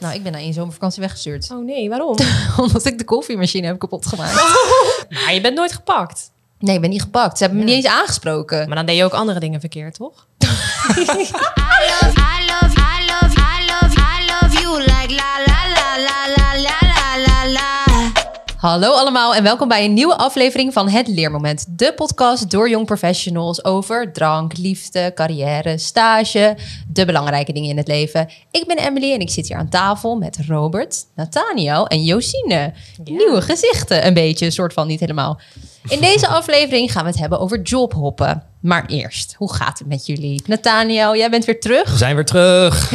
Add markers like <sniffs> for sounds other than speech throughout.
Nou, ik ben na één zomervakantie weggestuurd. Oh nee, <laughs> waarom? <laughs> Omdat ik de koffiemachine heb kapot gemaakt. Maar je bent nooit gepakt. Nee, ik ben niet gepakt. Ze hebben me niet eens aangesproken. Maar dan deed je ook andere dingen verkeerd, toch? I love, I love, I love, I love, I love you like la la la la la la la la la. Hallo allemaal en welkom bij een nieuwe aflevering van Het Leermoment. De podcast door jong professionals over drank, liefde, carrière, stage, de belangrijke dingen in het leven. Ik ben Emily en ik zit hier aan tafel met Robert, Nathaniel en Josine. Nieuwe gezichten, een beetje, soort van niet helemaal. In deze aflevering gaan we het hebben over jobhoppen. Maar eerst, hoe gaat het met jullie? Nathaniel, jij bent weer terug. We zijn weer terug.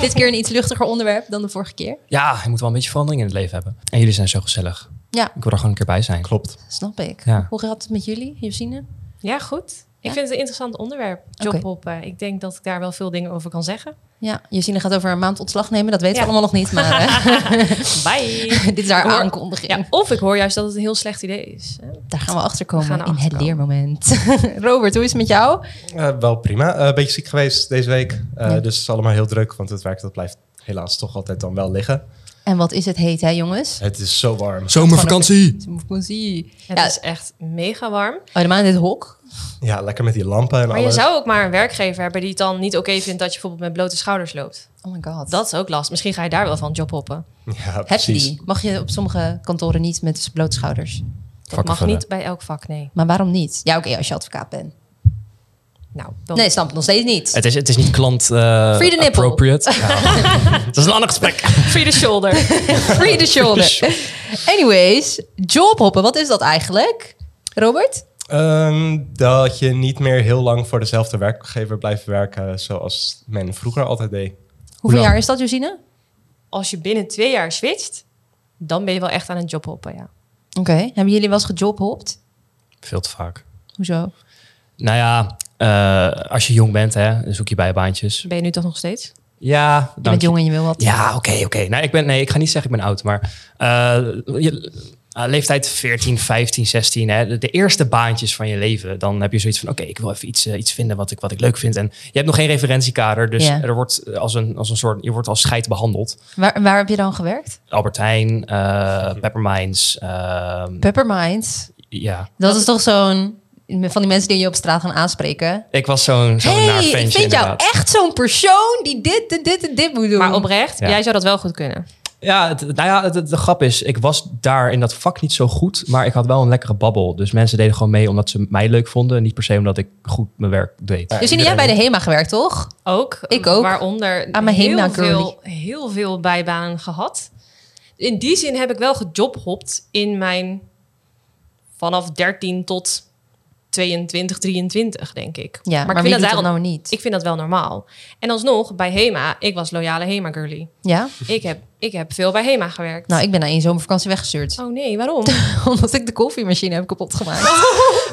Dit keer een iets luchtiger onderwerp dan de vorige keer. Ja, je moet wel een beetje verandering in het leven hebben. En jullie zijn zo gezellig. Ja, Ik wil er gewoon een keer bij zijn. Klopt. snap ik. Ja. Hoe gaat het met jullie, Josine? Ja, goed. Ik vind het een interessant onderwerp, jobhoppen. Ik denk dat ik daar wel veel dingen over kan zeggen. Ja, Josine gaat over een maand ontslag nemen. Dat weten Ja. we allemaal nog niet, maar eh, Bye! <laughs> dit is haar Hoor- aankondiging. <laughs> Ja, of ik hoor juist dat het een heel slecht idee is. hè. Daar gaan we achter komen We gaan in erachter het komen. leermoment. <laughs> Robert, hoe is het met jou? Eh, wel prima. Eh, Een beetje ziek geweest deze week. Eh, Ja. Dus het is allemaal heel druk, want het werk dat blijft helaas toch altijd dan wel liggen. En wat is het heet, hè jongens? Het is zo warm. Zomervakantie. Het Ja. is echt mega warm. Oh, helemaal in dit hok? Ja, lekker met die lampen en Maar je alles. zou ook maar een werkgever hebben die het dan niet oké vindt dat je bijvoorbeeld met blote schouders loopt. Oh my god. Dat is ook last. Misschien ga je daar wel van jobhoppen. Ja, Heb je precies. die? Mag je op sommige kantoren niet met blote schouders? Dat mag Vakkenvullen. niet bij elk vak, nee. Maar waarom niet? Ja, oké, als je advocaat bent. Nou, dan <laughs> Nee, snap het nog steeds niet. Het is, het is niet klant eh, Free the nipple. <laughs> appropriate. Ja. Dat is een ander gesprek. free the <laughs> shoulder. Free <laughs> the shoulder. Anyways, jobhoppen, wat is dat eigenlijk? Robert? Ehm, dat je niet meer heel lang voor dezelfde werkgever blijft werken zoals men vroeger altijd deed. Hoeveel lang? jaar is dat, Josine? Als je binnen twee jaar switcht, dan ben je wel echt aan het jobhoppen, ja. Oké, hebben jullie wel eens gejobhopt? Veel te vaak. Hoezo? Nou ja, eh, als je jong bent, hè, dan zoek je bijbaantjes. Ben je nu toch nog steeds? Ja, Je bent dank je. jong en je wil wat. Ja, oké, oké. Nou, ik ben, nee, ik ga niet zeggen ik ben oud, maar eh, je- eh, leeftijd 14, 15, 16, hè, de, de eerste baantjes van je leven, dan heb je zoiets van, oké, ik wil even iets, eh, iets vinden wat ik, wat ik leuk vind. En je hebt nog geen referentiekader, dus Ja. er wordt eh, als een, als een soort, je wordt als scheid behandeld. Waar, waar heb je dan gewerkt? Albert Heijn, eh, Pepperminds, ehm, Peppermind. ja. Dat is toch zo'n... Van die mensen die je op straat gaan aanspreken. Ik was zo'n zo'n Oh, naar hey, ik ventje vind jou inderdaad. echt zo'n persoon die dit en dit en dit moet doen. Maar oprecht, Ja. jij zou dat wel goed kunnen. Ja, het- nou ja, de, de grap is, ik was daar in dat vak niet zo goed, maar ik had wel een lekkere babbel. Dus mensen deden gewoon mee omdat ze mij leuk vonden, niet per se omdat ik goed mijn werk deed. Ja, Dus jullie jij bij iedereen- de HEMA gewerkt, toch? Ook. Ik ook. Waaronder Aan mijn heel, Hemna girly. veel, heel veel bijbanen gehad. In die zin heb ik wel gejobhopt in mijn... vanaf 13 tot 22, 23, denk ik. Ja, maar, wie ik vind doet dat dat daar nou niet? Ik vind dat wel normaal. En alsnog, bij HEMA, ik was loyale HEMA-girly. Ja? Ik heb, ik heb veel bij HEMA gewerkt. Nou, ik ben na één zomervakantie weggestuurd. Oh nee, waarom? <laughs> Omdat ik de koffiemachine heb kapot <laughs> gemaakt.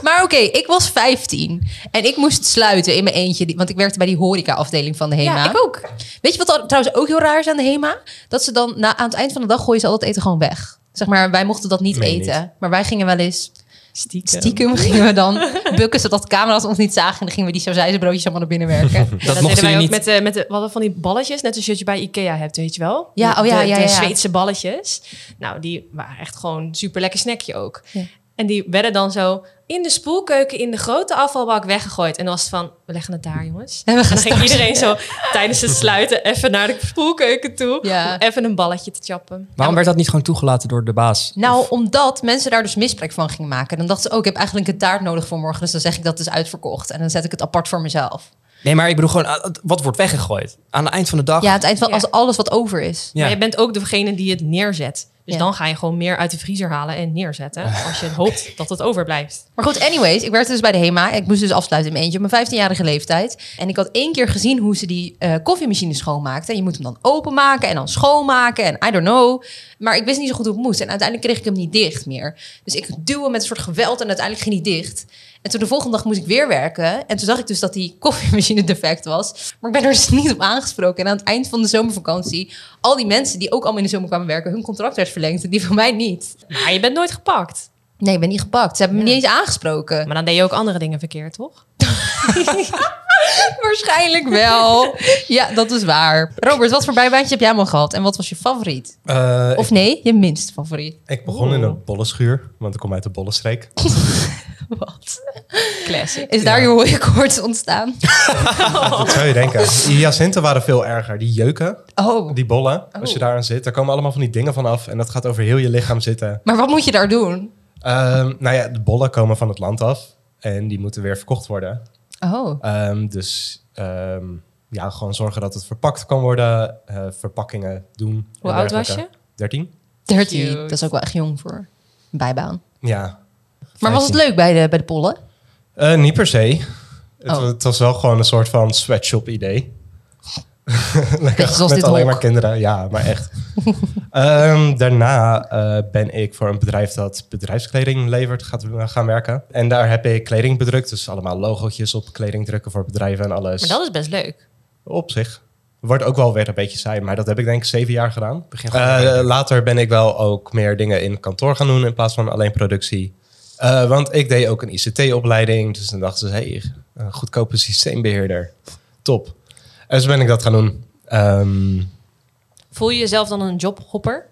maar oké, ik was 15. En ik moest sluiten in mijn eentje. die- Want ik werkte bij die horecaafdeling van de HEMA. Ja, ik ook. Weet je wat al- trouwens ook heel raar is aan de HEMA? Dat ze dan na, aan het eind van de dag gooien ze al het eten gewoon weg. Zeg maar, wij mochten dat niet Meen je eten. Maar wij gingen wel eens Stiekem. stiekem gingen we dan <laughs> bukken zodat camera's ons niet zagen. En dan gingen we die sausijzenbroodjes allemaal naar binnen <laughs> werken. Dat, Dat deden mochten wij jullie ook niet. met, de, met de, wat van die balletjes, net als je bij Ikea hebt, weet je wel? Ja, De- oh ja, de, ja, de ja. Zweedse balletjes. Nou, die waren echt gewoon super lekker snackje ook. Ja. En die werden dan zo in de spoelkeuken in de grote afvalbak weggegooid. En dan was het van, we leggen het daar, jongens. En we gaan dan ging iedereen zo tijdens het sluiten even naar de spoelkeuken toe. Ja. om Even een balletje te chappen. Waarom werd dat niet gewoon toegelaten door de baas? Nou, omdat mensen daar dus misbruik van gingen maken. Dan dachten ze, oh, ik heb eigenlijk een taart nodig voor morgen. Dus dan zeg ik dat het is uitverkocht. En dan zet ik het apart voor mezelf. Nee, maar ik bedoel gewoon, ah, wat wordt weggegooid? Aan het eind van de dag? Ja, het eind van Ja. als alles wat over is. Ja. Maar je bent ook degene die het neerzet. Dus Ja. dan ga je gewoon meer uit de vriezer halen en <laughs> neerzetten. Als je hoopt dat het overblijft. Maar goed, anyways, ik werkte dus bij de HEMA. Ik moest dus afsluiten in mijn eentje op mijn 15-jarige leeftijd. En ik had één keer gezien hoe ze die eh, koffiemachine schoonmaakten. En je moet hem dan openmaken en dan schoonmaken en I don't know. Maar ik wist niet zo goed hoe het moest. En uiteindelijk kreeg ik hem niet dicht meer. Dus ik duwde met een soort geweld en uiteindelijk ging hij dicht. En toen de volgende dag moest ik weer werken. En toen zag ik dus dat die koffiemachine <laughs> defect was. Maar ik ben er dus niet op aangesproken. En aan het eind van de zomervakantie... al die mensen die ook allemaal in de zomer kwamen werken... hun contract werd verlengd en die van mij niet. Maar je bent nooit gepakt. Nee, ik ben niet gepakt. Ze hebben me niet eens aangesproken. Maar dan deed je ook andere dingen verkeerd, toch? <laughs> Waarschijnlijk wel. Ja, dat is waar. Robert, wat voor bijbaantje heb jij allemaal gehad? En wat was je favoriet? Eh, Of nee, je minst favoriet? ik begon in een bollenschuur, want ik kom uit de bollenstreek. Wat? Classic. Is daar je hooikoorts <laughs> ontstaan? Dat zou je denken. Die Hyacinten waren veel erger. Die jeuken, Oh, die bollen, als je daaraan zit, daar komen allemaal van die dingen van af. En dat gaat over heel je lichaam zitten. maar wat moet je daar doen? Ehm, nou ja, de bollen komen van het land af. En die moeten weer verkocht worden. Oh, Ehm, dus ehm, ja, gewoon zorgen dat het verpakt kan worden. eh, verpakkingen doen. en Hoe oud was dergelijke. 13? 13. Cute. Dat is ook wel echt jong voor een bijbaan. Ja. Maar was het leuk 15. bij de, bij de pollen? Eh, niet per se. Het, Oh. wa- het was wel gewoon een soort van sweatshop idee. <laughs> Lekker zoals met dit alleen hok. maar kinderen. Ja, maar echt. <laughs> Ehm, daarna eh, ben ik voor een bedrijf dat bedrijfskleding levert gaat, eh, gaan werken. En daar heb ik kleding bedrukt. Dus allemaal logotjes op kleding drukken voor bedrijven en alles. Maar dat is best leuk. Op zich. Wordt ook wel weer een beetje saai, maar dat heb ik denk ik zeven jaar gedaan. Begin Eh, gewoon lekker. later ben ik wel ook meer dingen in kantoor gaan doen in plaats van alleen productie. Eh, want ik deed ook een ICT-opleiding, dus dan dachten ze, hey, een goedkope systeembeheerder. Top. En dus ben ik dat gaan doen. Ehm, Voel je jezelf dan een jobhopper?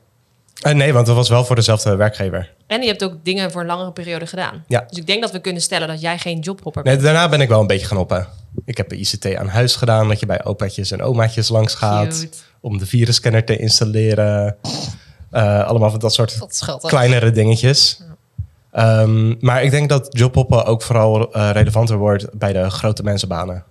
eh, nee, want dat was wel voor dezelfde werkgever. En je hebt ook dingen voor een langere periode gedaan. Ja. Dus ik denk dat we kunnen stellen dat jij geen jobhopper bent. Nee, daarna ben ik wel een beetje gaan oppen. Ik heb de ICT aan huis gedaan, dat je bij opaatjes en omaatjes langs gaat. Cute. Om de virusscanner te installeren. Eh, allemaal van dat soort Dat is schattig. kleinere dingetjes. Ehm, maar ik denk dat jobhoppen ook vooral eh, relevanter wordt bij de grote mensenbanen.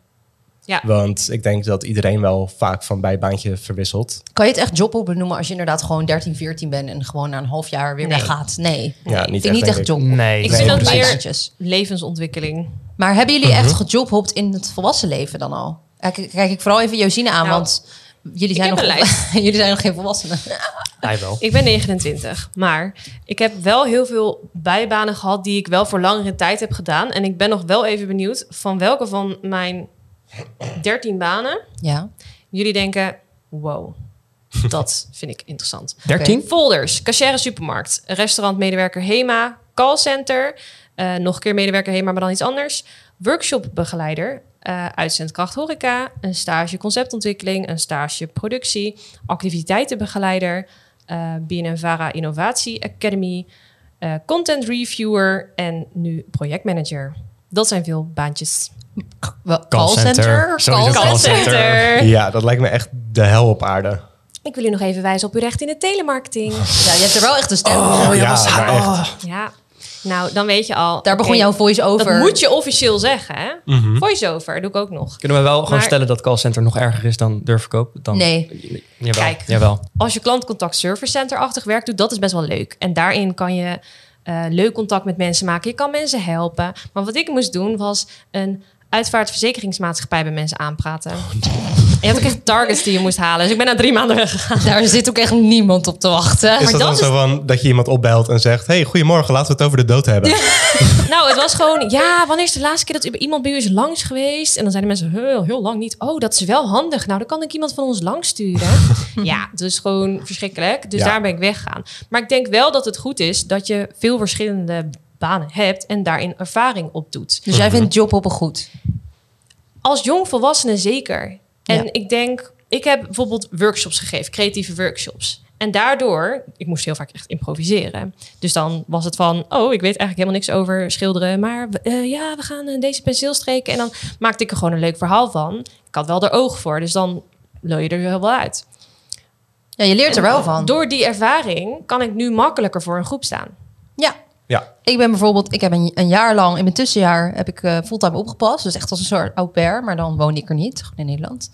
Ja. Want ik denk dat iedereen wel vaak van bijbaantje verwisselt. Kan je het echt jobhopper noemen als je inderdaad gewoon 13, 14 bent en gewoon na een half jaar weer Nee. weggaat? Nee. Ja, Ik niet vind echt, niet denk echt ik. jobhopper. Nee, Ik vind zie nee, dat precies. meer bijbaantjes. levensontwikkeling. Maar hebben jullie Mhm. echt gejobhopt in het volwassen leven dan al? Kijk, kijk ik vooral even Josine aan, Nou, want jullie zijn, heb nog, <laughs> een jullie zijn nog geen volwassenen. hij wel. Ik ben 29, maar ik heb wel heel veel bijbanen gehad die ik wel voor langere tijd heb gedaan. En ik ben nog wel even benieuwd van welke van mijn 13 banen Ja. jullie denken, wow, dat vind ik interessant. 13? Folders, cachère supermarkt, restaurantmedewerker Hema, callcenter, eh, nog een keer medewerker Hema, maar dan iets anders. Workshopbegeleider, eh uitzendkracht horeca, een stage conceptontwikkeling, een stage productie, activiteitenbegeleider, eh BNNVARA Innovatie Academy, eh, content reviewer en nu projectmanager. Dat zijn veel baantjes. Wel, Callcenter. Callcenter. Sowieso Call- Callcenter. Ja, dat lijkt me echt de hel op aarde. Ik wil u nog even wijzen op uw recht in de telemarketing. Ja, je hebt er wel echt een stem. Oh, ja, maar echt. oh. Ja, nou dan weet je al. Daar begon oké, jouw voice-over. Dat moet je officieel zeggen, hè? Voice-over doe ik ook nog. Kunnen we wel gewoon Maar- stellen dat callcenter nog erger is dan deurverkoop? Dan, Nee. Jawel, Kijk. Jawel. Als je klantcontact service center-achtig werk doet, dat is best wel leuk. En daarin kan je eh, leuk contact met mensen maken. Je kan mensen helpen. Maar wat ik moest doen, was een uitvaartverzekeringsmaatschappij bij mensen aanpraten. Je had ook echt targets die je moest halen. Dus ik ben na drie maanden weggegaan. <laughs> Daar zit ook echt niemand op te wachten. Is dat dan dat zo van dat je iemand opbelt en zegt... hey, goedemorgen, laten we het over de dood hebben. Nou, het was gewoon, ja, wanneer is de laatste keer dat iemand bij u is langs geweest? En dan zeiden mensen, heel, heel lang niet. Oh, dat is wel handig. Nou, dan kan ik iemand van ons langs sturen. ja, dus gewoon verschrikkelijk. Dus Ja. daar ben ik weggegaan. Maar ik denk wel dat het goed is dat je veel verschillende banen hebt en daarin ervaring op doet. Dus jij vindt jobhoppen goed? Als jongvolwassene zeker. En Ja. ik denk, ik heb bijvoorbeeld workshops gegeven, creatieve workshops. En daardoor, ik moest heel vaak echt improviseren. Dus dan was het van, oh, ik weet eigenlijk helemaal niks over schilderen. Maar eh, ja, we gaan eh, deze penseel streken. En dan maakte ik er gewoon een leuk verhaal van. Ik had wel er oog voor, dus dan lul je er heel wel uit. Ja, je leert er wel van. Door die ervaring kan ik nu makkelijker voor een groep staan. Ja. Ja. Ik ben bijvoorbeeld, ik heb een, een jaar lang, in mijn tussenjaar heb ik eh, fulltime opgepast. Dus echt als een soort au pair, maar dan woon ik er niet, gewoon in Nederland.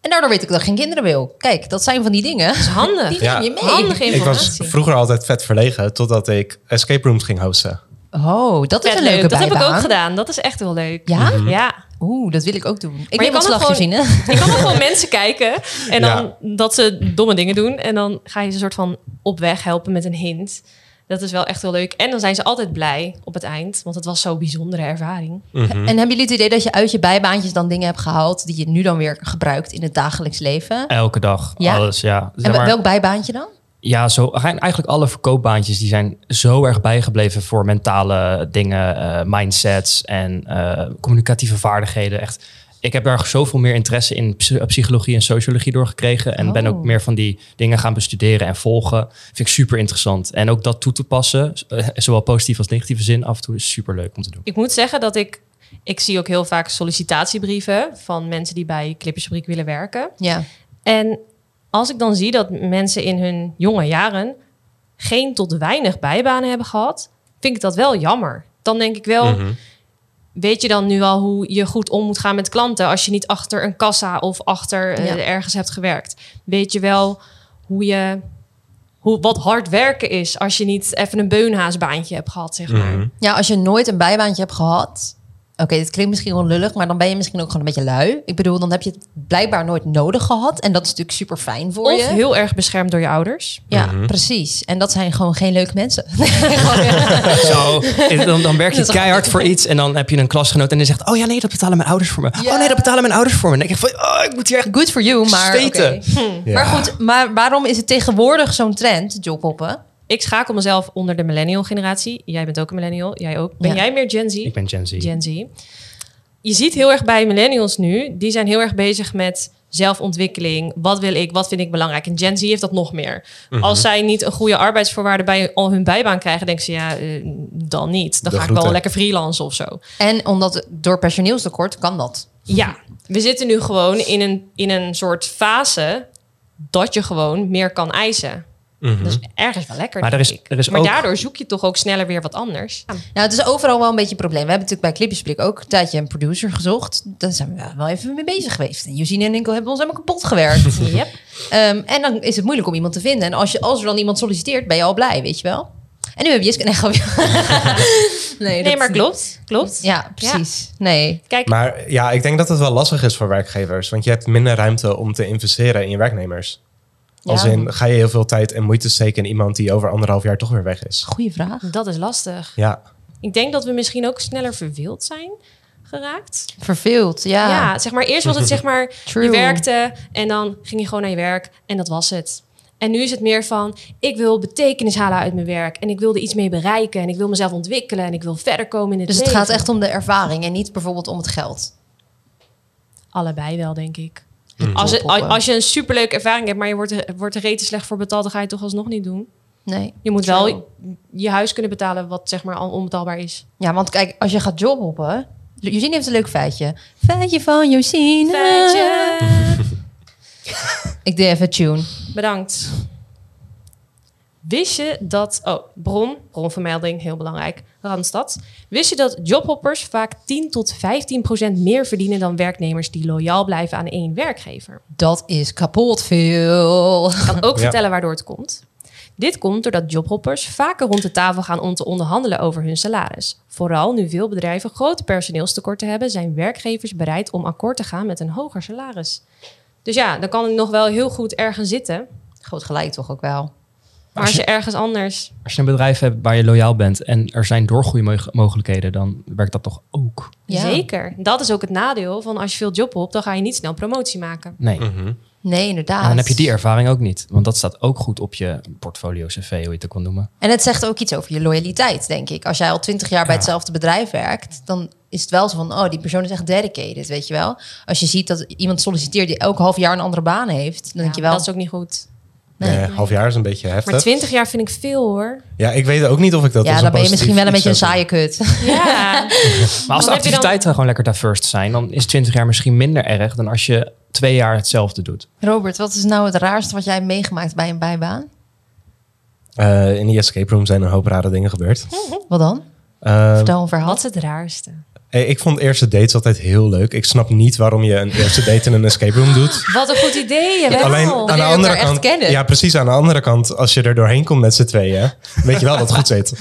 En daardoor weet ik dat ik geen kinderen wil. Kijk, dat zijn van die dingen. Dat is handig. Die neem je mee. Handige Ik was informatie. vroeger altijd vet verlegen totdat ik escape rooms ging hosten. Oh, dat is Vet een leuke leuk. Dat heb ik bijbaan. ook gedaan. Dat is echt wel leuk. Ja? Mhm. Ja. Oeh, dat wil ik ook doen. Ik Maar neem je een kan slag, ook gewoon- Josine. Je kan ook gewoon mensen kijken en dan Ja. dat ze domme dingen doen. En dan ga je ze een soort van op weg helpen met een hint. Dat is wel echt heel leuk. En dan zijn ze altijd blij op het eind, want het was zo'n bijzondere ervaring. En hebben jullie het idee dat je uit je bijbaantjes dan dingen hebt gehaald... die je nu dan weer gebruikt in het dagelijks leven? Elke dag. Ja? Alles, ja. Zeg en maar- welk bijbaantje dan? Ja, zo, eigenlijk alle verkoopbaantjes die zijn zo erg bijgebleven voor mentale dingen, eh, mindsets en eh, communicatieve vaardigheden. Echt ik heb daar zoveel meer interesse in psy- psychologie en sociologie door gekregen. En ben Oh. ook meer van die dingen gaan bestuderen en volgen. Vind ik super interessant. En ook dat toe te passen, z- eh, zowel positief als negatieve zin, af en toe is super leuk om te doen. Ik moet zeggen dat ik... Ik zie ook heel vaak sollicitatiebrieven van mensen die bij Clippersfabriek willen werken. Ja. En als ik dan zie dat mensen in hun jonge jaren geen tot weinig bijbanen hebben gehad, vind ik dat wel jammer. Dan denk ik wel, Mhm. weet je dan nu al hoe je goed om moet gaan met klanten als je niet achter een kassa of achter eh, Ja. ergens hebt gewerkt? Weet je wel hoe je hoe, wat hard werken is als je niet even een beunhaasbaantje hebt gehad, zeg maar. Mhm. ja, als je nooit een bijbaantje hebt gehad. Oké, dit klinkt misschien wel lullig, maar dan ben je misschien ook gewoon een beetje lui. Ik bedoel, dan heb je het blijkbaar nooit nodig gehad. En dat is natuurlijk super fijn voor je. Of heel erg beschermd door je ouders. Ja, precies. En dat zijn gewoon geen leuke mensen. <laughs> <laughs> Zo, dan, dan werk je Dat is keihard voor iets en dan heb je een klasgenoot en die zegt, oh ja, nee, dat betalen mijn ouders voor me. Ja. Oh nee, dat betalen mijn ouders voor me. En dan denk ik van, oh, ik moet hier echt Good for you, maar... oké. Steten. Ja. Maar goed, maar waarom is het tegenwoordig zo'n trend, jobhoppen? Ik schakel mezelf onder de millennial generatie. Jij bent ook een millennial, jij ook. Ben Ja. jij meer Gen Z? Ik ben Gen Z. Gen Z. Je ziet heel erg bij millennials nu, die zijn heel erg bezig met zelfontwikkeling. Wat wil ik? Wat vind ik belangrijk? En Gen Z heeft dat nog meer. Mhm. Als zij niet een goede arbeidsvoorwaarde bij al hun bijbaan krijgen, denken ze ja, eh, dan niet. Dan De ga ik wel groeten. lekker freelancen of zo. Mhm. En omdat door personeelstekort kan dat. Ja, we zitten nu gewoon in een, in een soort fase dat je gewoon meer kan eisen. Dat is ergens wel lekker. Mhm. Maar er denk is- ik. er is maar ook- daardoor zoek je toch ook sneller weer wat anders. Nou, het is overal wel een beetje een probleem. We hebben natuurlijk bij Clipjesblik ook een tijdje een producer gezocht. Daar zijn we wel even mee bezig geweest. En Josine en Inkel hebben ons helemaal kapot gewerkt. Yep. Ehm, en dan is het moeilijk om iemand te vinden. En als, je, als er dan iemand solliciteert, ben je al blij, weet je wel? En nu heb je Jiske... Nee, grapje. <laughs> nee, Nee, dat- maar klopt. Klopt. Ja, precies. Nee. Kijk, Maar ja, ik denk dat het wel lastig is voor werkgevers. Want je hebt minder ruimte om te investeren in je werknemers. Als Ja. in, ga je heel veel tijd en moeite steken in iemand die over anderhalf jaar toch weer weg is. Goeie vraag. dat is lastig. Ja, Ik denk dat we misschien ook sneller verveeld zijn geraakt. Verveeld, Ja, ja. zeg maar, eerst was het zeg <laughs> maar, je Ah. True. werkte en dan ging je gewoon naar je werk en dat was het. En nu is het meer van, ik wil betekenis halen uit mijn werk en ik wil er iets mee bereiken en ik wil mezelf ontwikkelen en ik wil verder komen in het Dus het leven. gaat echt om de ervaring en niet bijvoorbeeld om het geld. Allebei wel, denk ik. Als, het- als als je een superleuke ervaring hebt, maar je wordt er, wordt er rete slecht voor betaald, dan ga je het toch alsnog niet doen. Nee. Je moet True. wel je huis kunnen betalen wat zeg maar al onbetaalbaar is. Ja, want kijk, als je gaat jobhoppen... Josine heeft een leuk feitje. Feitje van Josine. Feitje. Ik deed even tune. Bedankt. Wist je dat... Oh, bron, bronvermelding, heel belangrijk. Randstad. Wist je dat jobhoppers vaak 10 tot 15 procent meer verdienen... dan werknemers die loyaal blijven aan één werkgever? Dat is kapot veel. Ik kan ook Ja. vertellen waardoor het komt. Dit komt doordat jobhoppers vaker rond de tafel gaan om te onderhandelen over hun salaris. Vooral nu veel bedrijven grote personeelstekorten hebben, zijn werkgevers bereid om akkoord te gaan met een hoger salaris. Dus ja, dan kan het nog wel heel goed ergens zitten. Groot gelijk toch ook wel. Maar als je ergens anders Als je een bedrijf hebt waar je loyaal bent en er zijn doorgroeimogelijkheden, dan werkt dat toch ook? Ja. Zeker. Dat is ook het nadeel van als je veel job op, dan ga je niet snel promotie maken. Nee. Nee, inderdaad. Maar dan heb je die ervaring ook niet. Want dat staat ook goed op je portfolio cv, hoe je het ook kan noemen. En het zegt ook iets over je loyaliteit, denk ik. Als jij al twintig jaar bij hetzelfde bedrijf werkt, dan is het wel zo van, oh, die persoon is echt dedicated, weet je wel. Als je ziet dat iemand solliciteert die elk half jaar een andere baan heeft, dan denk je wel, Dat is ook niet goed. Nee. Nee, Eh, half jaar is een beetje heftig. Maar twintig jaar vind ik veel hoor. Ja, ik weet ook niet of ik dat. als ja, een dan ben je positief misschien wel een iets beetje een zou saaie kut. <laughs> Ja. Maar als de Dan heb je dan- activiteiten gewoon lekker diverse zijn, dan is 20 jaar misschien minder erg dan als je twee jaar hetzelfde doet. Robert, wat is nou het raarste wat jij hebt meegemaakt bij een bijbaan? doen. Eh, in die escape room zijn een hoop rare dingen gebeurd. Wat dan? Ehm, Vertel een verhaal. <laughs> Wat is het raarste? eh, ik vond eerste dates altijd heel leuk. Ik snap niet waarom je een eerste date in een escape room doet. Wat een goed idee. jawel. Alleen leer aan je de elkaar andere echt kant. kennen. Ja, precies. Aan de andere kant, als je er doorheen komt met z'n tweeën, weet je wel dat het goed zit.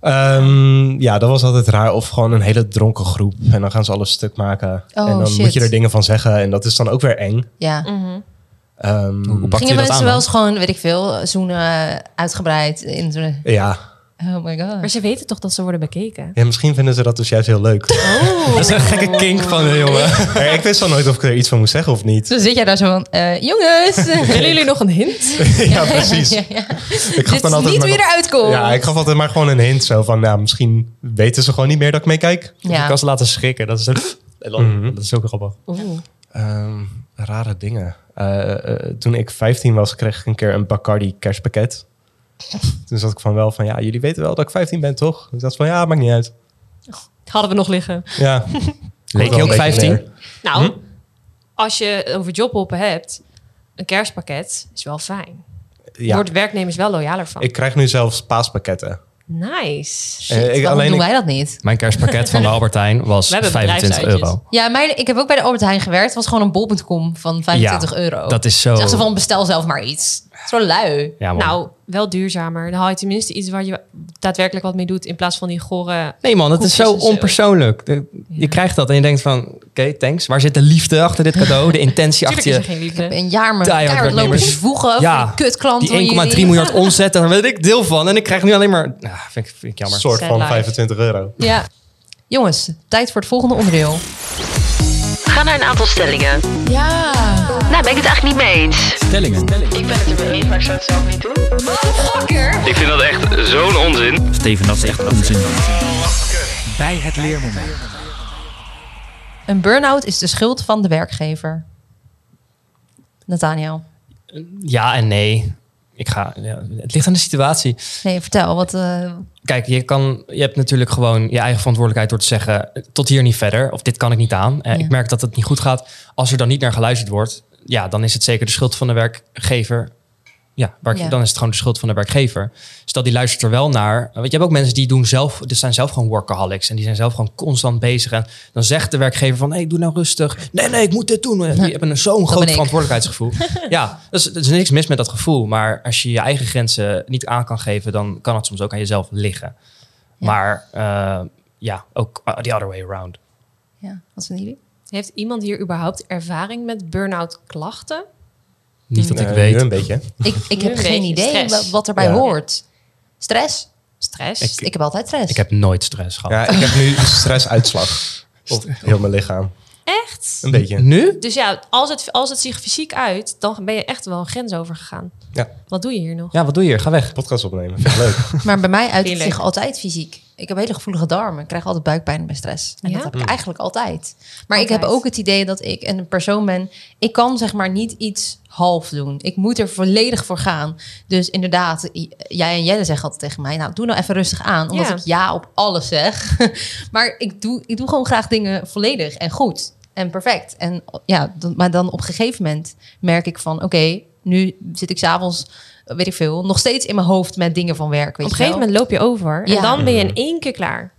Ehm, ja, dat was altijd raar. Of gewoon een hele dronken groep. En dan gaan ze alles stuk maken. Oh, en dan shit. moet je er dingen van zeggen. En dat is dan ook weer eng. Ja. Ehm, Mhm. Hoe pakte je Gingen dat mensen aan? wel dan? eens gewoon, weet ik veel, zoenen uitgebreid in zo'n... ja. Oh my god. Maar ze weten toch dat ze worden bekeken? ja, misschien vinden ze dat dus juist heel leuk. Oh. Dat is een gekke kink van de <laughs> jongen. Maar ik wist al nooit of ik er iets van moest zeggen <laughs> of niet. Zo zit jij daar zo van, eh, <laughs> jongens. Willen jullie nog een hint? ja, precies. Ja, ja. Ik gaf Dit dan is altijd niet maar- hoe je eruit komt. Ja, ik gaf altijd maar gewoon een hint. Zo van, nou, misschien weten ze gewoon niet meer dat ik meekijk. Dus Ik Ja. <sniffs> kan ze laten schrikken. Dat is een- En dan- Mhm. Dat is ook grappig. Oeh. Ehm, rare dingen. Eh, eh, toen ik 15 was, kreeg ik een keer een Bacardi <laughs> kerstpakket. Toen zat ik van wel van, ja, jullie weten wel dat ik 15 ben, toch? Dus dat is van, ja, maakt niet uit. Hadden we nog liggen. Ja. Leek je Wel een ook beetje 15? meer. Nou, Hm? als je het over jobhoppen hebt, een kerstpakket is wel fijn. Ja. Wordt werknemers wel loyaler van. Ik krijg nu zelfs paaspakketten. Nice. Shit, Eh, ik- waarom alleen doen ik- wij dat niet? Mijn <laughs> kerstpakket van de Albert Heijn was We hebben 25 bedrijfsuitjes. euro. Ja, mijn, ik heb ook bij de Albert Heijn gewerkt. Het was gewoon een bol.com van 25 euro. Dat is zo... Zeg ze van bestel zelf maar iets. Zo lui. Ja, man. Nou, wel duurzamer. Dan haal je tenminste iets waar je daadwerkelijk wat mee doet. In plaats van die gore. Nee man, het is zo Koekjes en zo. onpersoonlijk. De- je krijgt dat en je denkt van, oké, thanks. Waar zit de liefde achter dit <laughs> cadeau? De intentie Tuurlijk achter is er je... geen Ik heb liefde. een jaar me Diehard keihard lopen werknemers. zwoegen Ja, ja, van kutklanten van Die 1,3 jullie. miljard omzet, daar weet ik deel van. En ik krijg nu alleen maar... Ah, vind, ik, vind ik jammer. Een soort Sad van life. 25 euro. Ja. Jongens, tijd voor het volgende onderdeel. Ga naar een aantal stellingen. Ja. Nou, ben ik het eigenlijk niet mee eens. Stellingen. Ik ben het er mee eens, maar ik zou het zelf niet doen. Ik vind dat echt zo'n onzin. Steven, dat is echt onzin. Bij het leermoment. Een burn-out is de schuld van de werkgever. Nathaniel. Ja en nee. Ik ga, ja, het ligt aan de situatie. Nee, vertel. Wat, eh, Kijk, je, kan, je hebt natuurlijk gewoon je eigen verantwoordelijkheid door te zeggen... eh, tot hier niet verder, of dit kan ik niet aan. Eh, Ja. Ik merk dat het niet goed gaat. Als er dan niet naar geluisterd wordt... ja, dan is het zeker de schuld van de werkgever. Ja, werk- Ja. dan is het gewoon de schuld van de werkgever. Stel, die luistert er wel naar. Want je hebt ook mensen die doen zelf... die zijn zelf gewoon workaholics... en die zijn zelf gewoon constant bezig. En dan zegt de werkgever van... hey, doe nou rustig. Nee, nee, ik moet dit doen. Die hebben een zo'n groot ben ik. verantwoordelijkheidsgevoel. <laughs> ja, dus er is niks mis met dat gevoel. Maar als je je eigen grenzen niet aan kan geven... dan kan het soms ook aan jezelf liggen. Ja. Maar eh, ja, ook uh, the other way around. ja, wat vinden jullie? Heeft iemand hier überhaupt ervaring met burn-out klachten? Mm. Niet dat ik Eh, weet. nu een beetje. Ik, ik Nu heb een geen beetje idee stress. wa- wat erbij Ja. hoort. Stress? Stress? Ik, heb altijd stress. Ik heb nooit stress gehad. Ja, ik heb <laughs> nu stressuitslag. Op heel mijn lichaam. Echt? Een beetje. Nu? Dus ja, als het, als het zich fysiek uit, dan ben je echt wel een grens overgegaan. Ja. Wat doe je hier nog? Ja, wat doe je hier? Ga weg. Podcast opnemen, vind ik leuk. Maar bij mij uit Vind je zich leuk? altijd fysiek. Ik heb hele gevoelige darmen. Ik krijg altijd buikpijn bij stress. En Ja? dat heb ik eigenlijk altijd. Maar ik Altijd. heb ook het idee dat ik een persoon ben... Ik kan zeg maar niet iets half doen. Ik moet er volledig voor gaan. Dus inderdaad, j- jij en Jelle zeggen altijd tegen mij... Nou, doe nou even rustig aan. Omdat Ja. ik ja op alles zeg. <laughs> maar ik doe, ik doe gewoon graag dingen volledig en goed. En perfect. En ja, dan- maar dan op een gegeven moment merk ik van... Oké, nu zit ik s'avonds, weet ik veel... nog steeds in mijn hoofd met dingen van werk. Weet Op een je wel? gegeven moment loop je over en Ja. dan ben je in één keer klaar.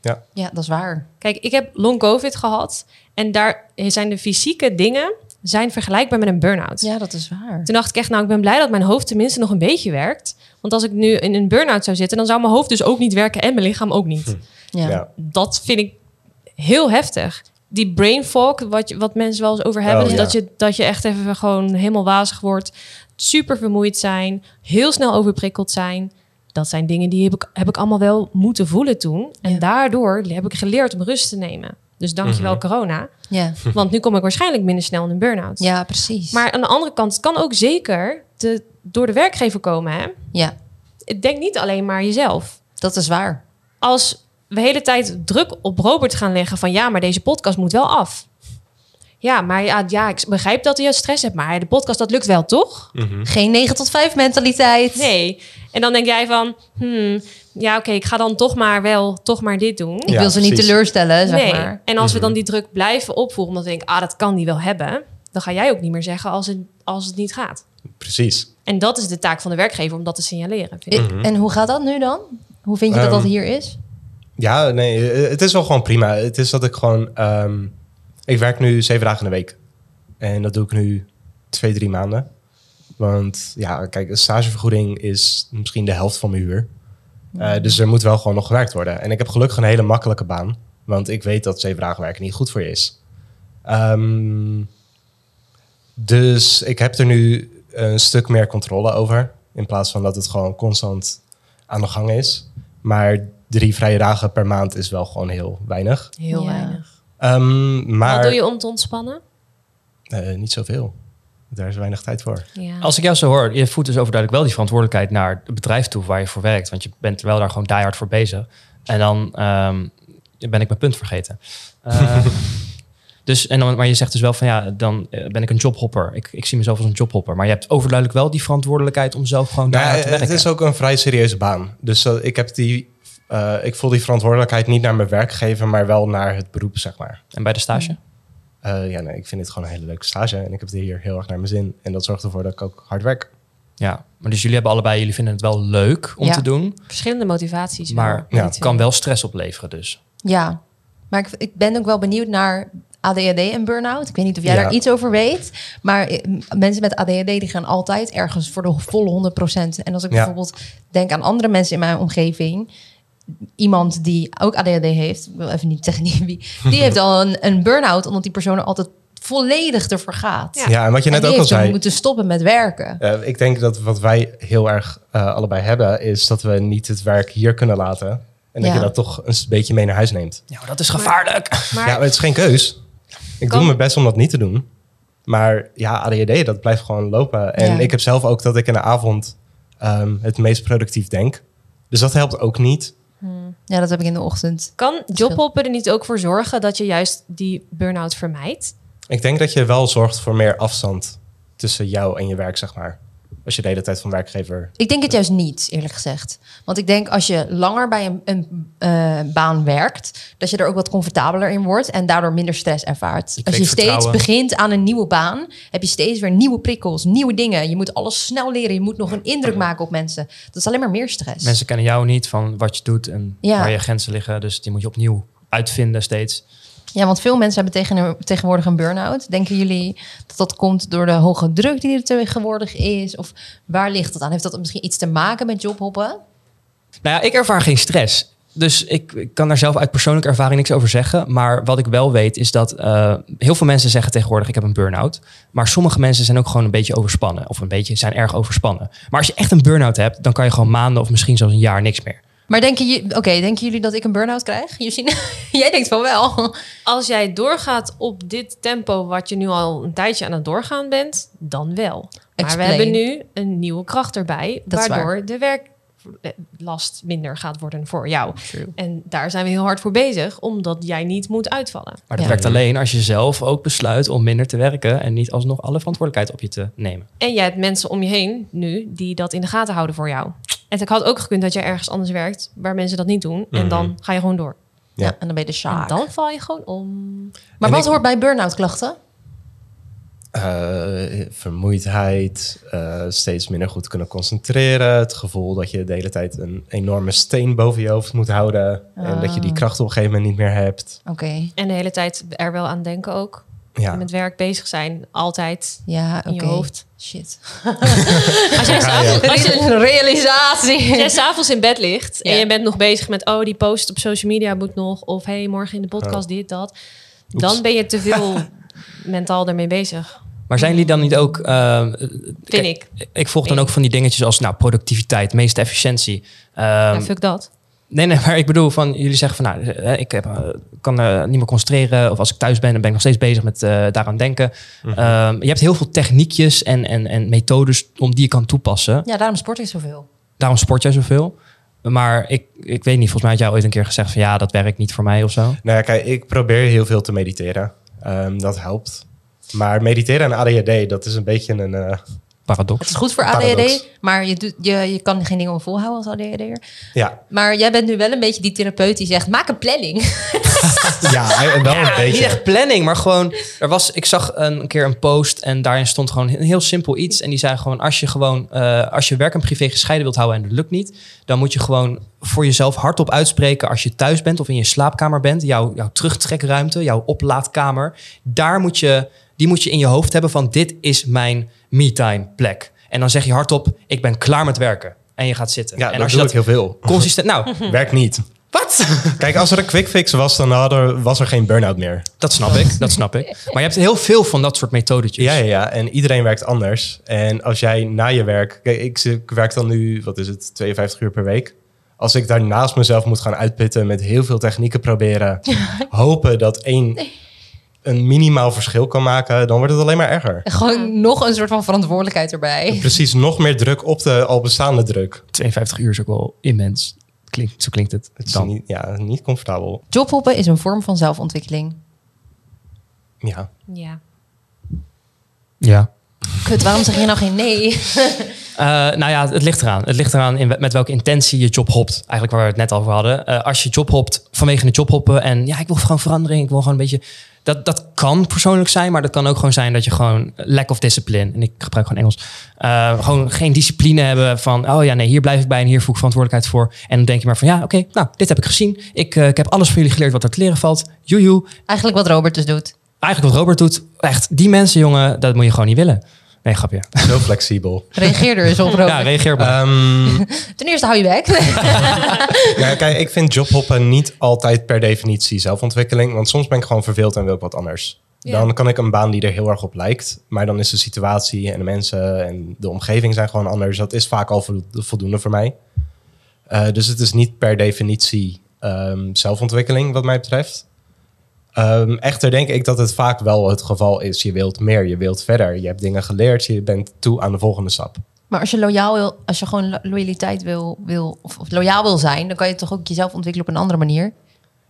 Ja, dat is waar. Kijk, ik heb long covid gehad en daar zijn de fysieke dingen zijn vergelijkbaar met een burn-out. Ja, dat is waar. Toen dacht ik echt, nou, ik ben blij dat mijn hoofd tenminste nog een beetje werkt. Want als ik nu in een burn-out zou zitten, dan zou mijn hoofd dus ook niet werken en mijn lichaam ook Hm. <laughs> niet. Ja. Ja. Dat vind ik heel heftig. Die brain fog, wat, je, wat mensen wel eens over hebben, Oh, is ja. dat, je, dat je echt even gewoon helemaal wazig wordt, super vermoeid zijn, heel snel overprikkeld zijn. Dat zijn dingen die heb ik, heb ik allemaal wel moeten voelen toen. En Ja. daardoor heb ik geleerd om rust te nemen. Dus dankjewel Mhm. corona. Ja. Want nu kom ik waarschijnlijk minder snel in een burn-out. ja, precies. Maar aan de andere kant, het kan ook zeker de, door de werkgever komen. Hè? ja, Ik Denk niet alleen maar jezelf. dat is waar. Als we de hele tijd druk op Robert gaan leggen van ja, maar deze podcast moet wel af. Ja, maar ja, ja ik begrijp dat je stress hebt, maar de podcast dat lukt wel, toch? Mhm. Geen 9 tot 5 mentaliteit. Nee. En dan denk jij van, hmm, ja oké, ik ga dan toch maar wel, toch maar dit doen. Ik Ja, wil ze niet precies. teleurstellen, zeg nee. maar. En als we dan die druk blijven opvoeren, omdat ik denk, ah, dat kan die wel hebben, dan ga jij ook niet meer zeggen als het, als het niet gaat. Precies. En dat is de taak van de werkgever om dat te signaleren. vind ik. I- En hoe gaat dat nu dan? Hoe vind je dat dat Mhm. Ehm, hier is? Ja, nee, eh, het is wel gewoon prima. Het is dat ik gewoon... ehm, ik werk nu zeven dagen in de week. En dat doe ik nu twee, drie maanden. Want ja, kijk, een stagevergoeding is misschien de helft van mijn huur. Eh, dus er moet wel gewoon nog gewerkt worden. En ik heb gelukkig een hele makkelijke baan. Want ik weet dat zeven dagen werken niet goed voor je is. Ehm, dus ik heb er nu een stuk meer controle over. In plaats van dat het gewoon constant aan de gang is. Maar drie vrije dagen per maand is wel gewoon heel weinig. Heel Ja. weinig. Ehm, maar Wat doe je om te ontspannen? eh, niet zoveel. Daar is weinig tijd voor. Ja. Als ik jou zo hoor, je voert dus overduidelijk wel die verantwoordelijkheid naar het bedrijf toe waar je voor werkt. Want je bent er wel daar gewoon <laughs> diehard voor bezig. En dan ehm, ben ik mijn punt vergeten. Eh, Dus, en dan, maar je zegt dus wel van ja, dan eh, ben ik een jobhopper. Ik, ik zie mezelf als een jobhopper. Maar je hebt overduidelijk wel die verantwoordelijkheid om zelf gewoon daar Nou, te werken. het is ook een vrij serieuze baan. Dus eh, ik, heb die, eh, ik voel die verantwoordelijkheid niet naar mijn werkgever, maar wel naar het beroep, zeg maar. En bij de stage? Eh, ja, nee, ik vind dit gewoon een hele leuke stage en ik heb het hier heel erg naar mijn zin. En dat zorgt ervoor dat ik ook hard werk. Ja. Maar dus jullie hebben allebei, jullie vinden het wel leuk om Ja. te doen. Verschillende motivaties. wel. Maar Ja. het kan wel stress opleveren dus. Ja, maar ik, ik ben ook wel benieuwd naar ADHD en burn-out. Ik weet niet of jij Ja. daar iets over weet. Maar eh, m- mensen met ADHD die gaan altijd ergens voor de volle 100%. En als ik Ja. bijvoorbeeld denk aan andere mensen in mijn omgeving. Iemand die ook ADHD heeft, ik wil even niet zeggen niet wie, die <laughs> heeft al een, een burn-out, omdat die persoon er altijd volledig ervoor gaat. Ja. Ja, en wat je En die net ook al heeft zei. moeten stoppen met werken. eh, ik denk dat wat wij heel erg eh, allebei hebben, is dat we niet het werk hier kunnen laten. En dat Ja. je dat toch een s- beetje mee naar huis neemt. Ja, maar dat is gevaarlijk. Maar- ja, maar het is geen keus. Ik Kan- doe mijn best om dat niet te doen. Maar ja, ADHD, dat blijft gewoon lopen. En Ja. ik heb zelf ook dat ik in de avond ehm, het meest productief denk. Dus dat helpt ook niet. Ja, dat heb ik in de ochtend. Kan jobhoppen er niet ook voor zorgen dat je juist die burn-out vermijdt? Ik denk dat je wel zorgt voor meer afstand tussen jou en je werk, zeg maar. Als je de hele tijd van werkgever... Ik denk het juist niet, eerlijk gezegd. Want ik denk als je langer bij een, een eh, baan werkt, dat je er ook wat comfortabeler in wordt en daardoor minder stress ervaart. Als je kweekt steeds vertrouwen. begint aan een nieuwe baan, heb je steeds weer nieuwe prikkels, nieuwe dingen. Je moet alles snel leren. Je moet nog een indruk maken op mensen. Dat is alleen maar meer stress. Mensen kennen jou niet van wat je doet en Ja. waar je grenzen liggen. Dus die moet je opnieuw uitvinden steeds. Ja, want veel mensen hebben tegen, tegenwoordig een burn-out. Denken jullie dat dat komt door de hoge druk die er tegenwoordig is? Of waar ligt dat aan? Heeft dat misschien iets te maken met jobhoppen? Nou ja, ik ervaar geen stress. Dus ik, ik kan daar zelf uit persoonlijke ervaring niks over zeggen. Maar wat ik wel weet is dat eh, heel veel mensen zeggen tegenwoordig ik heb een burn-out. Maar sommige mensen zijn ook gewoon een beetje overspannen. Of een beetje zijn erg overspannen. Maar als je echt een burn-out hebt, dan kan je gewoon maanden of misschien zelfs een jaar niks meer. Maar denken, je, oké, denken jullie dat ik een burn-out krijg? <laughs> Jusine, jij denkt van wel. Als jij doorgaat op dit tempo wat je nu al een tijdje aan het doorgaan bent, dan wel. Maar Explain. we hebben nu een nieuwe kracht erbij, Dat is waar. waardoor de werklast minder gaat worden voor jou. En daar zijn we heel hard voor bezig, omdat jij niet moet uitvallen. Maar dat Ja. werkt alleen als je zelf ook besluit om minder te werken. En niet alsnog alle verantwoordelijkheid op je te nemen. En jij hebt mensen om je heen nu die dat in de gaten houden voor jou. En ik had ook gekund dat jij ergens anders werkt waar mensen dat niet doen. Mhm. En dan ga je gewoon door. Ja. Ja. en dan ben je de En sjaak. dan val je gewoon om. Maar En wat ik- hoort bij burn-out klachten? eh, vermoeidheid, eh, steeds minder goed kunnen concentreren. Het gevoel dat je de hele tijd een enorme steen boven je hoofd moet houden. En dat je die kracht op een gegeven moment niet meer hebt. Oké, En de hele tijd er wel aan denken ook. Ja. Met werk bezig zijn. Altijd. ja, oké. In je hoofd. Shit. Als jij s'avonds <laughs> als je- Een realisatie. als jij s'avonds in bed ligt Ja. en je bent nog bezig met... oh, die post op social media moet nog... of hey, morgen in de podcast dit, dat. Dan ben je te veel mentaal daarmee bezig, Maar zijn jullie dan niet ook... eh, vind kijk, ik. Ik volg dan ook van die dingetjes als nou, productiviteit, meeste efficiëntie. Ehm, ja, fuck dat. Nee, nee, maar ik bedoel van jullie zeggen van nou, eh, ik heb, eh, kan eh, niet meer concentreren. Of als ik thuis ben, dan ben ik nog steeds bezig met eh, daaraan denken. Ehm, je hebt heel veel techniekjes en, en, en methodes om die je kan toepassen. Ja, daarom sport ik zoveel. Daarom sport jij zoveel. Maar ik, ik weet niet, volgens mij had jij ooit een keer gezegd van ja, dat werkt niet voor mij of zo. Nou ja, kijk, ik probeer heel veel te mediteren. Ehm, dat helpt. Maar mediteren en ADHD, dat is een beetje een... eh, Het Paradox. is goed voor Paradox. ADHD, maar je, doet, je, je kan geen dingen volhouden als ADHD'er. ja, Maar jij bent nu wel een beetje die therapeut die zegt, maak een planning. <laughs> ja, en wel een Niet beetje. echt planning, maar gewoon. Er was, ik zag een keer een post en daarin stond gewoon een heel simpel iets. En die zei gewoon: als je gewoon, eh, als je werk en privé gescheiden wilt houden en dat lukt niet, dan moet je gewoon voor jezelf hardop uitspreken als je thuis bent of in je slaapkamer bent, jouw, jouw terugtrekruimte, jouw oplaadkamer. Daar moet je, die moet je in je hoofd hebben van dit is mijn me-time plek. En dan zeg je hardop: ik ben klaar met werken. En je gaat zitten. Ja, en dat doe ik heel veel. consistent. Nou, Werkt niet. <laughs> wat? Kijk, als er een quick fix was, dan hadden, was er geen burn-out meer. Dat snap ik, dat snap <laughs> ik. Maar je hebt heel veel van dat soort methodetjes. Ja, ja, ja. En iedereen werkt anders. En als jij na je werk... Kijk, ik, zit- ik werk dan nu, wat is het, 52 uur per week. Als ik daarnaast mezelf moet gaan uitpitten met heel veel technieken proberen... hopen dat één een minimaal verschil kan maken... dan wordt het alleen maar erger. Gewoon nog een soort van verantwoordelijkheid erbij. Precies, nog meer druk op de al bestaande druk. 52 uur is ook wel immens. Klinkt, zo klinkt het. Het is dan. niet, ja, niet comfortabel. Jobhoppen is een vorm van zelfontwikkeling. Ja. Ja. Ja. Kut, waarom zeg je nou geen nee? Eh, nou ja, het ligt eraan. Het ligt eraan in, we- met welke intentie je job hopt. Eigenlijk waar we het net over hadden. Eh, als je job hopt vanwege een job hoppen en ja, ik wil gewoon verandering. Ik wil gewoon een beetje... Dat, dat kan persoonlijk zijn, maar dat kan ook gewoon zijn dat je gewoon lack of discipline. En ik gebruik gewoon Engels. eh, gewoon geen discipline hebben van, oh ja, nee, hier blijf ik bij en hier voel ik verantwoordelijkheid voor. En dan denk je maar van, ja, oké, nou, dit heb ik gezien. Ik, eh, ik heb alles van jullie geleerd wat er te leren valt. Joejoe, Eigenlijk wat Robert dus doet. eigenlijk wat Robert doet, echt, die mensen, jongen, dat moet je gewoon niet willen. Nee, grapje. Zo <laughs> flexibel. Reageer er eens op, Robert. Ja, reageer maar. Ehm, Ten eerste hou je bek. ja, kijk, ik vind jobhoppen niet altijd per definitie zelfontwikkeling. Want soms ben ik gewoon verveeld en wil ik wat anders. Dan kan ik een baan die er heel erg op lijkt. Maar dan is de situatie en de mensen en de omgeving zijn gewoon anders. Dat is vaak al voldo- voldoende voor mij. Eh, dus het is niet per definitie ehm, zelfontwikkeling wat mij betreft. Ehm, echter denk ik dat het vaak wel het geval is. Je wilt meer, je wilt verder. Je hebt dingen geleerd, je bent toe aan de volgende stap. Maar als je loyaal wil, als je gewoon lo- loyaliteit wil, wil of, of loyaal wil zijn, dan kan je toch ook jezelf ontwikkelen op een andere manier.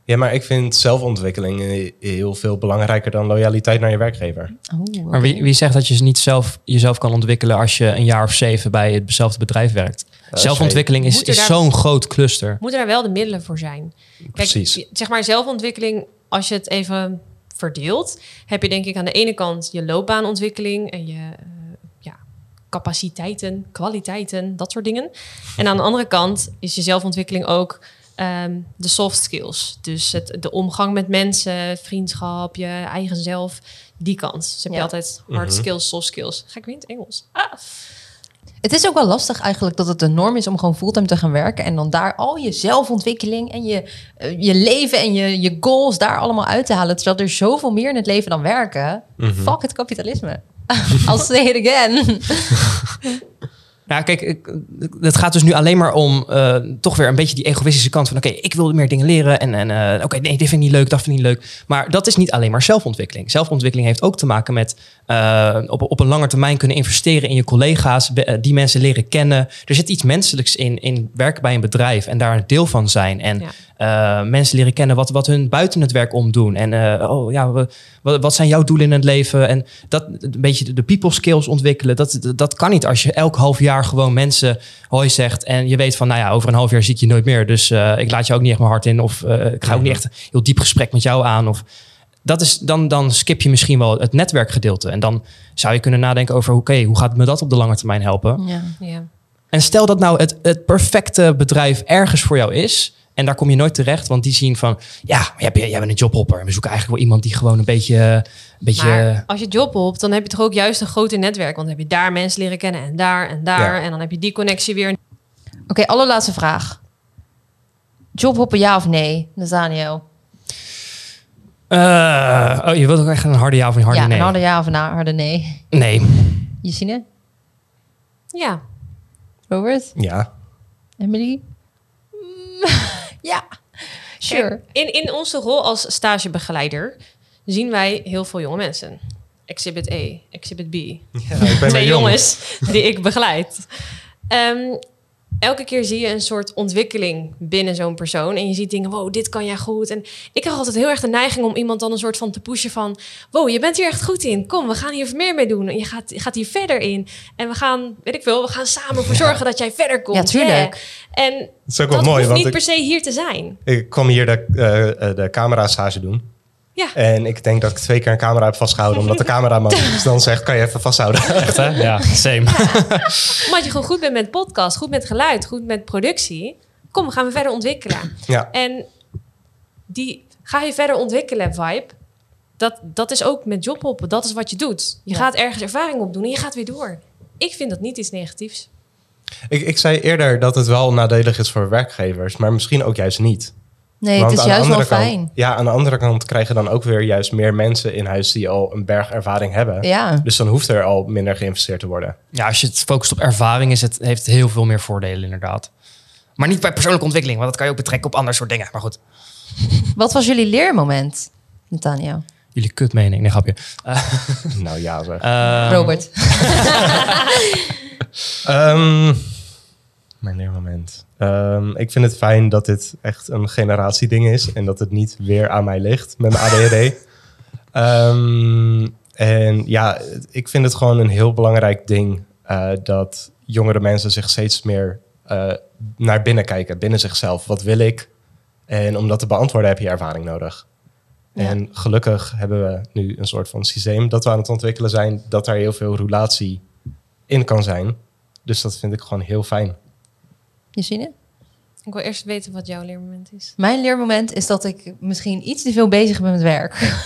Ja, maar ik vind zelfontwikkeling eh, heel veel belangrijker dan loyaliteit naar je werkgever. Oh, Maar wie, wie zegt dat je niet zelf jezelf kan ontwikkelen als je een jaar of zeven bij hetzelfde bedrijf werkt? Zelfontwikkeling is, Moet er is daar- zo'n groot cluster. Moeten daar wel de middelen voor zijn? Kijk, Precies. je- zeg maar zelfontwikkeling, als je het even verdeelt, heb je denk ik aan de ene kant je loopbaanontwikkeling en je eh, ja, capaciteiten, kwaliteiten, dat soort dingen. En aan de andere kant is je zelfontwikkeling ook ehm, de soft skills. Dus het, de omgang met mensen, vriendschap, je eigen zelf, die kant. Dus heb je Ja. altijd hard skills, soft skills. Ga ik weer in het Engels? Ah. Het is ook wel lastig eigenlijk dat het de norm is om gewoon fulltime te gaan werken en dan daar al je zelfontwikkeling en je, eh, je leven en je, je goals daar allemaal uit te halen. Terwijl er zoveel meer in het leven dan werken. Mhm. Fuck het kapitalisme. <laughs> I'll say it again. Nou, kijk, ik- het gaat dus nu alleen maar om eh, toch weer een beetje die egoïstische kant van... oké, ik wil meer dingen leren en, en eh, oké, nee, dit vind ik niet leuk, dat vind ik niet leuk. Maar dat is niet alleen maar zelfontwikkeling. Zelfontwikkeling heeft ook te maken met eh, op, op een lange termijn kunnen investeren in je collega's... be- eh, die mensen leren kennen. Er zit iets menselijks in, in werken bij een bedrijf en daar een deel van zijn. En eh, mensen leren kennen wat, wat hun buiten het werk omdoen. En eh, oh, ja, we- wat, wat zijn jouw doelen in het leven? En dat een beetje de- de people skills ontwikkelen. Dat, dat- dat kan niet als je elk half jaar gewoon mensen hoi zegt. En je weet van, nou ja, over een half jaar zie ik je nooit meer. Dus eh, ik laat je ook niet echt mijn hart in. Of eh, ik ga ook niet echt een heel diep gesprek met jou aan. Of, dat is, dan, dan skip je misschien wel het netwerkgedeelte. En dan zou je kunnen nadenken over, oké, hoe gaat me dat op de lange termijn helpen? Ja. Ja. En stel dat nou het, het perfecte bedrijf ergens voor jou is. En daar kom je nooit terecht, want die zien van... Ja, maar jij, bent- jij bent een jobhopper. We zoeken eigenlijk wel iemand die gewoon een beetje... Een beetje Maar als je job hoopt, dan heb je toch ook juist een groter netwerk. Want dan heb je daar mensen leren kennen en daar en daar. Ja. En dan heb je die connectie weer. Oké, allerlaatste vraag. Jobhoppen ja of nee, Nathaniel? eh, oh, je wilt ook echt een harde ja of een harde ja, nee? een harde ja of een harde nee. Nee. Jessine, Ja, Robert, Ja. Emily? Mm, <laughs> ja, sure. in, in onze rol als stagebegeleider zien wij heel veel jonge mensen. Exhibit A, Exhibit B, ik ben twee jongens die ik begeleid. Ehm, elke keer zie je een soort ontwikkeling binnen zo'n persoon. En je ziet dingen, wow, dit kan jij goed. En ik krijg altijd heel erg de neiging om iemand dan een soort van te pushen van... wow, je bent hier echt goed in. Kom, we gaan hier meer mee doen. En je gaat, gaat hier verder in. En we gaan, weet ik veel, we gaan samen voor zorgen dat jij verder komt. Ja, tuurlijk. Yeah. En Dat is ook wel dat mooi, hoeft niet want per ik, se hier te zijn. ik kwam hier de, eh, eh, de camera-stage doen. Ja. En ik denk dat ik twee keer een camera heb vastgehouden, omdat de cameraman dus dan zegt, kan je even vasthouden. <laughs> Echt, hè? <laughs> Ja, same. Omdat je gewoon goed bent met podcast, goed met geluid, goed met productie. Kom, we gaan we verder ontwikkelen. ja. En die ga je verder ontwikkelen vibe. Dat, dat is ook met jobhoppen. Dat is wat je doet. Je Ja. gaat ergens ervaring opdoen en je gaat weer door. Ik vind dat niet iets negatiefs. Ik, ik zei eerder dat het wel nadelig is voor werkgevers, maar misschien ook juist niet. Nee, het Want is aan de juist wel andere kant- fijn. Ja, aan de andere kant krijgen dan ook weer juist meer mensen in huis die al een berg ervaring hebben. Ja. Dus dan hoeft er al minder geïnvesteerd te worden. <laughs> Ja, als je het focust op ervaring, is het, heeft het heel veel meer voordelen inderdaad. Maar niet bij persoonlijke ontwikkeling, want dat kan je ook betrekken op ander soort dingen. Maar goed, Wat was jullie leermoment, Nathaniel? jullie kutmening. Nee, grapje. Eh, Nou ja, zeg. eh, Robert. <laughs> Ehm, mijn leermoment. Ehm, ik vind het fijn dat dit echt een generatieding is en dat het niet weer aan mij ligt met mijn ADHD. Ehm, en ja, ik vind het gewoon een heel belangrijk ding eh, dat jongere mensen zich steeds meer eh, naar binnen kijken, binnen zichzelf. Wat wil ik? En om dat te beantwoorden heb je ervaring nodig. En gelukkig hebben we nu een soort van systeem dat we aan het ontwikkelen zijn, dat daar heel veel relatie in kan zijn. Dus dat vind ik gewoon heel fijn. Justine? Ik wil eerst weten wat jouw leermoment is. Mijn leermoment is dat ik misschien iets te veel bezig ben met werk. <laughs>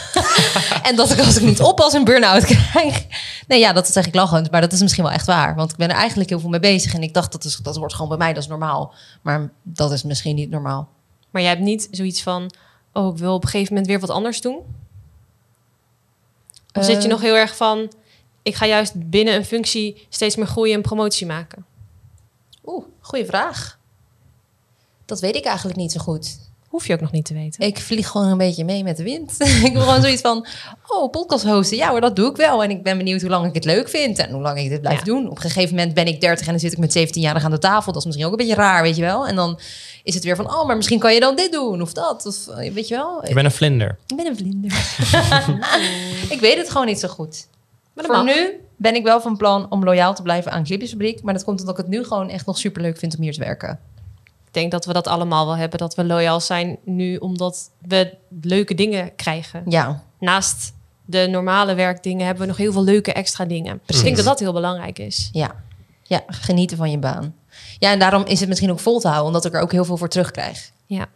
en dat ik als ik niet oppas een burn-out krijg. Nee, ja, dat is eigenlijk lachend, maar dat is misschien wel echt waar. Want ik ben er eigenlijk heel veel mee bezig. En ik dacht, dat, is, dat hoort gewoon bij mij, dat is normaal. Maar dat is misschien niet normaal. Maar jij hebt niet zoiets van, oh, ik wil op een gegeven moment weer wat anders doen? Of zit je Eh. nog heel erg van, ik ga juist binnen een functie steeds meer groeien en promotie maken? Oeh, goede vraag. Dat weet ik eigenlijk niet zo goed. Hoef je ook nog niet te weten. Ik vlieg gewoon een beetje mee met de wind. <laughs> ik wil gewoon zoiets van, oh, podcast hosten. Ja hoor, dat doe ik wel. En ik ben benieuwd hoe lang ik het leuk vind en hoe lang ik dit blijf Ja. doen. Op een gegeven moment ben ik 30 en dan zit ik met 17-jarig aan de tafel. Dat is misschien ook een beetje raar, weet je wel. En dan is het weer van, oh, maar misschien kan je dan dit doen of dat. Of, eh, weet je wel, Je bent een vlinder. ik ben een vlinder. <laughs> ik weet het gewoon niet zo goed. Maar Voor dat mag. nu ben ik wel van plan om loyaal te blijven aan Clipjesfabriek. Maar dat komt omdat ik het nu gewoon echt nog superleuk vind om hier te werken. Ik denk dat we dat allemaal wel hebben, dat we loyaal zijn nu omdat we leuke dingen krijgen. Ja, Naast de normale werkdingen hebben we nog heel veel leuke extra dingen. Dus Ik denk dat dat heel belangrijk is. Ja. ja, genieten van je baan. Ja, en daarom is het misschien ook vol te houden, omdat ik er ook heel veel voor terugkrijg. Ja.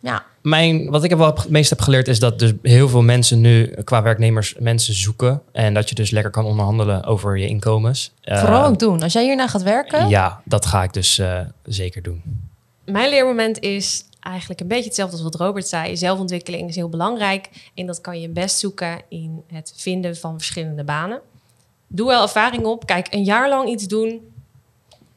Ja, Mijn, wat ik wel het meest heb geleerd is dat dus heel veel mensen nu qua werknemers mensen zoeken. En dat je dus lekker kan onderhandelen over je inkomens. Eh, vooral ook doen. Als jij hierna gaat werken, Ja, dat ga ik dus eh, zeker doen. Mijn leermoment is eigenlijk een beetje hetzelfde als wat Robert zei. Zelfontwikkeling is heel belangrijk en dat kan je best zoeken in het vinden van verschillende banen. Doe wel ervaring op. Kijk, een jaar lang iets doen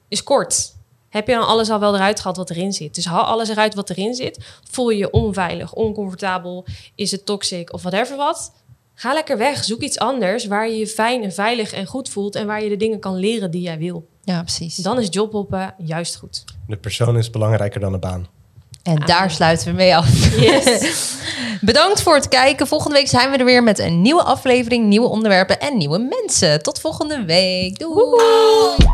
is kort. Heb je dan alles al wel eruit gehad wat erin zit? Dus haal alles eruit wat erin zit. Voel je je onveilig, oncomfortabel? Is het toxic of whatever wat? Ga lekker weg. Zoek iets anders waar je je fijn en veilig en goed voelt en waar je de dingen kan leren die jij wil. ja precies. Dan is jobhoppen juist goed. De persoon is belangrijker dan de baan. En daar sluiten we mee af. <laughs> Bedankt voor het kijken. Volgende week zijn we er weer met een nieuwe aflevering, nieuwe onderwerpen en nieuwe mensen. Tot volgende week. Doei.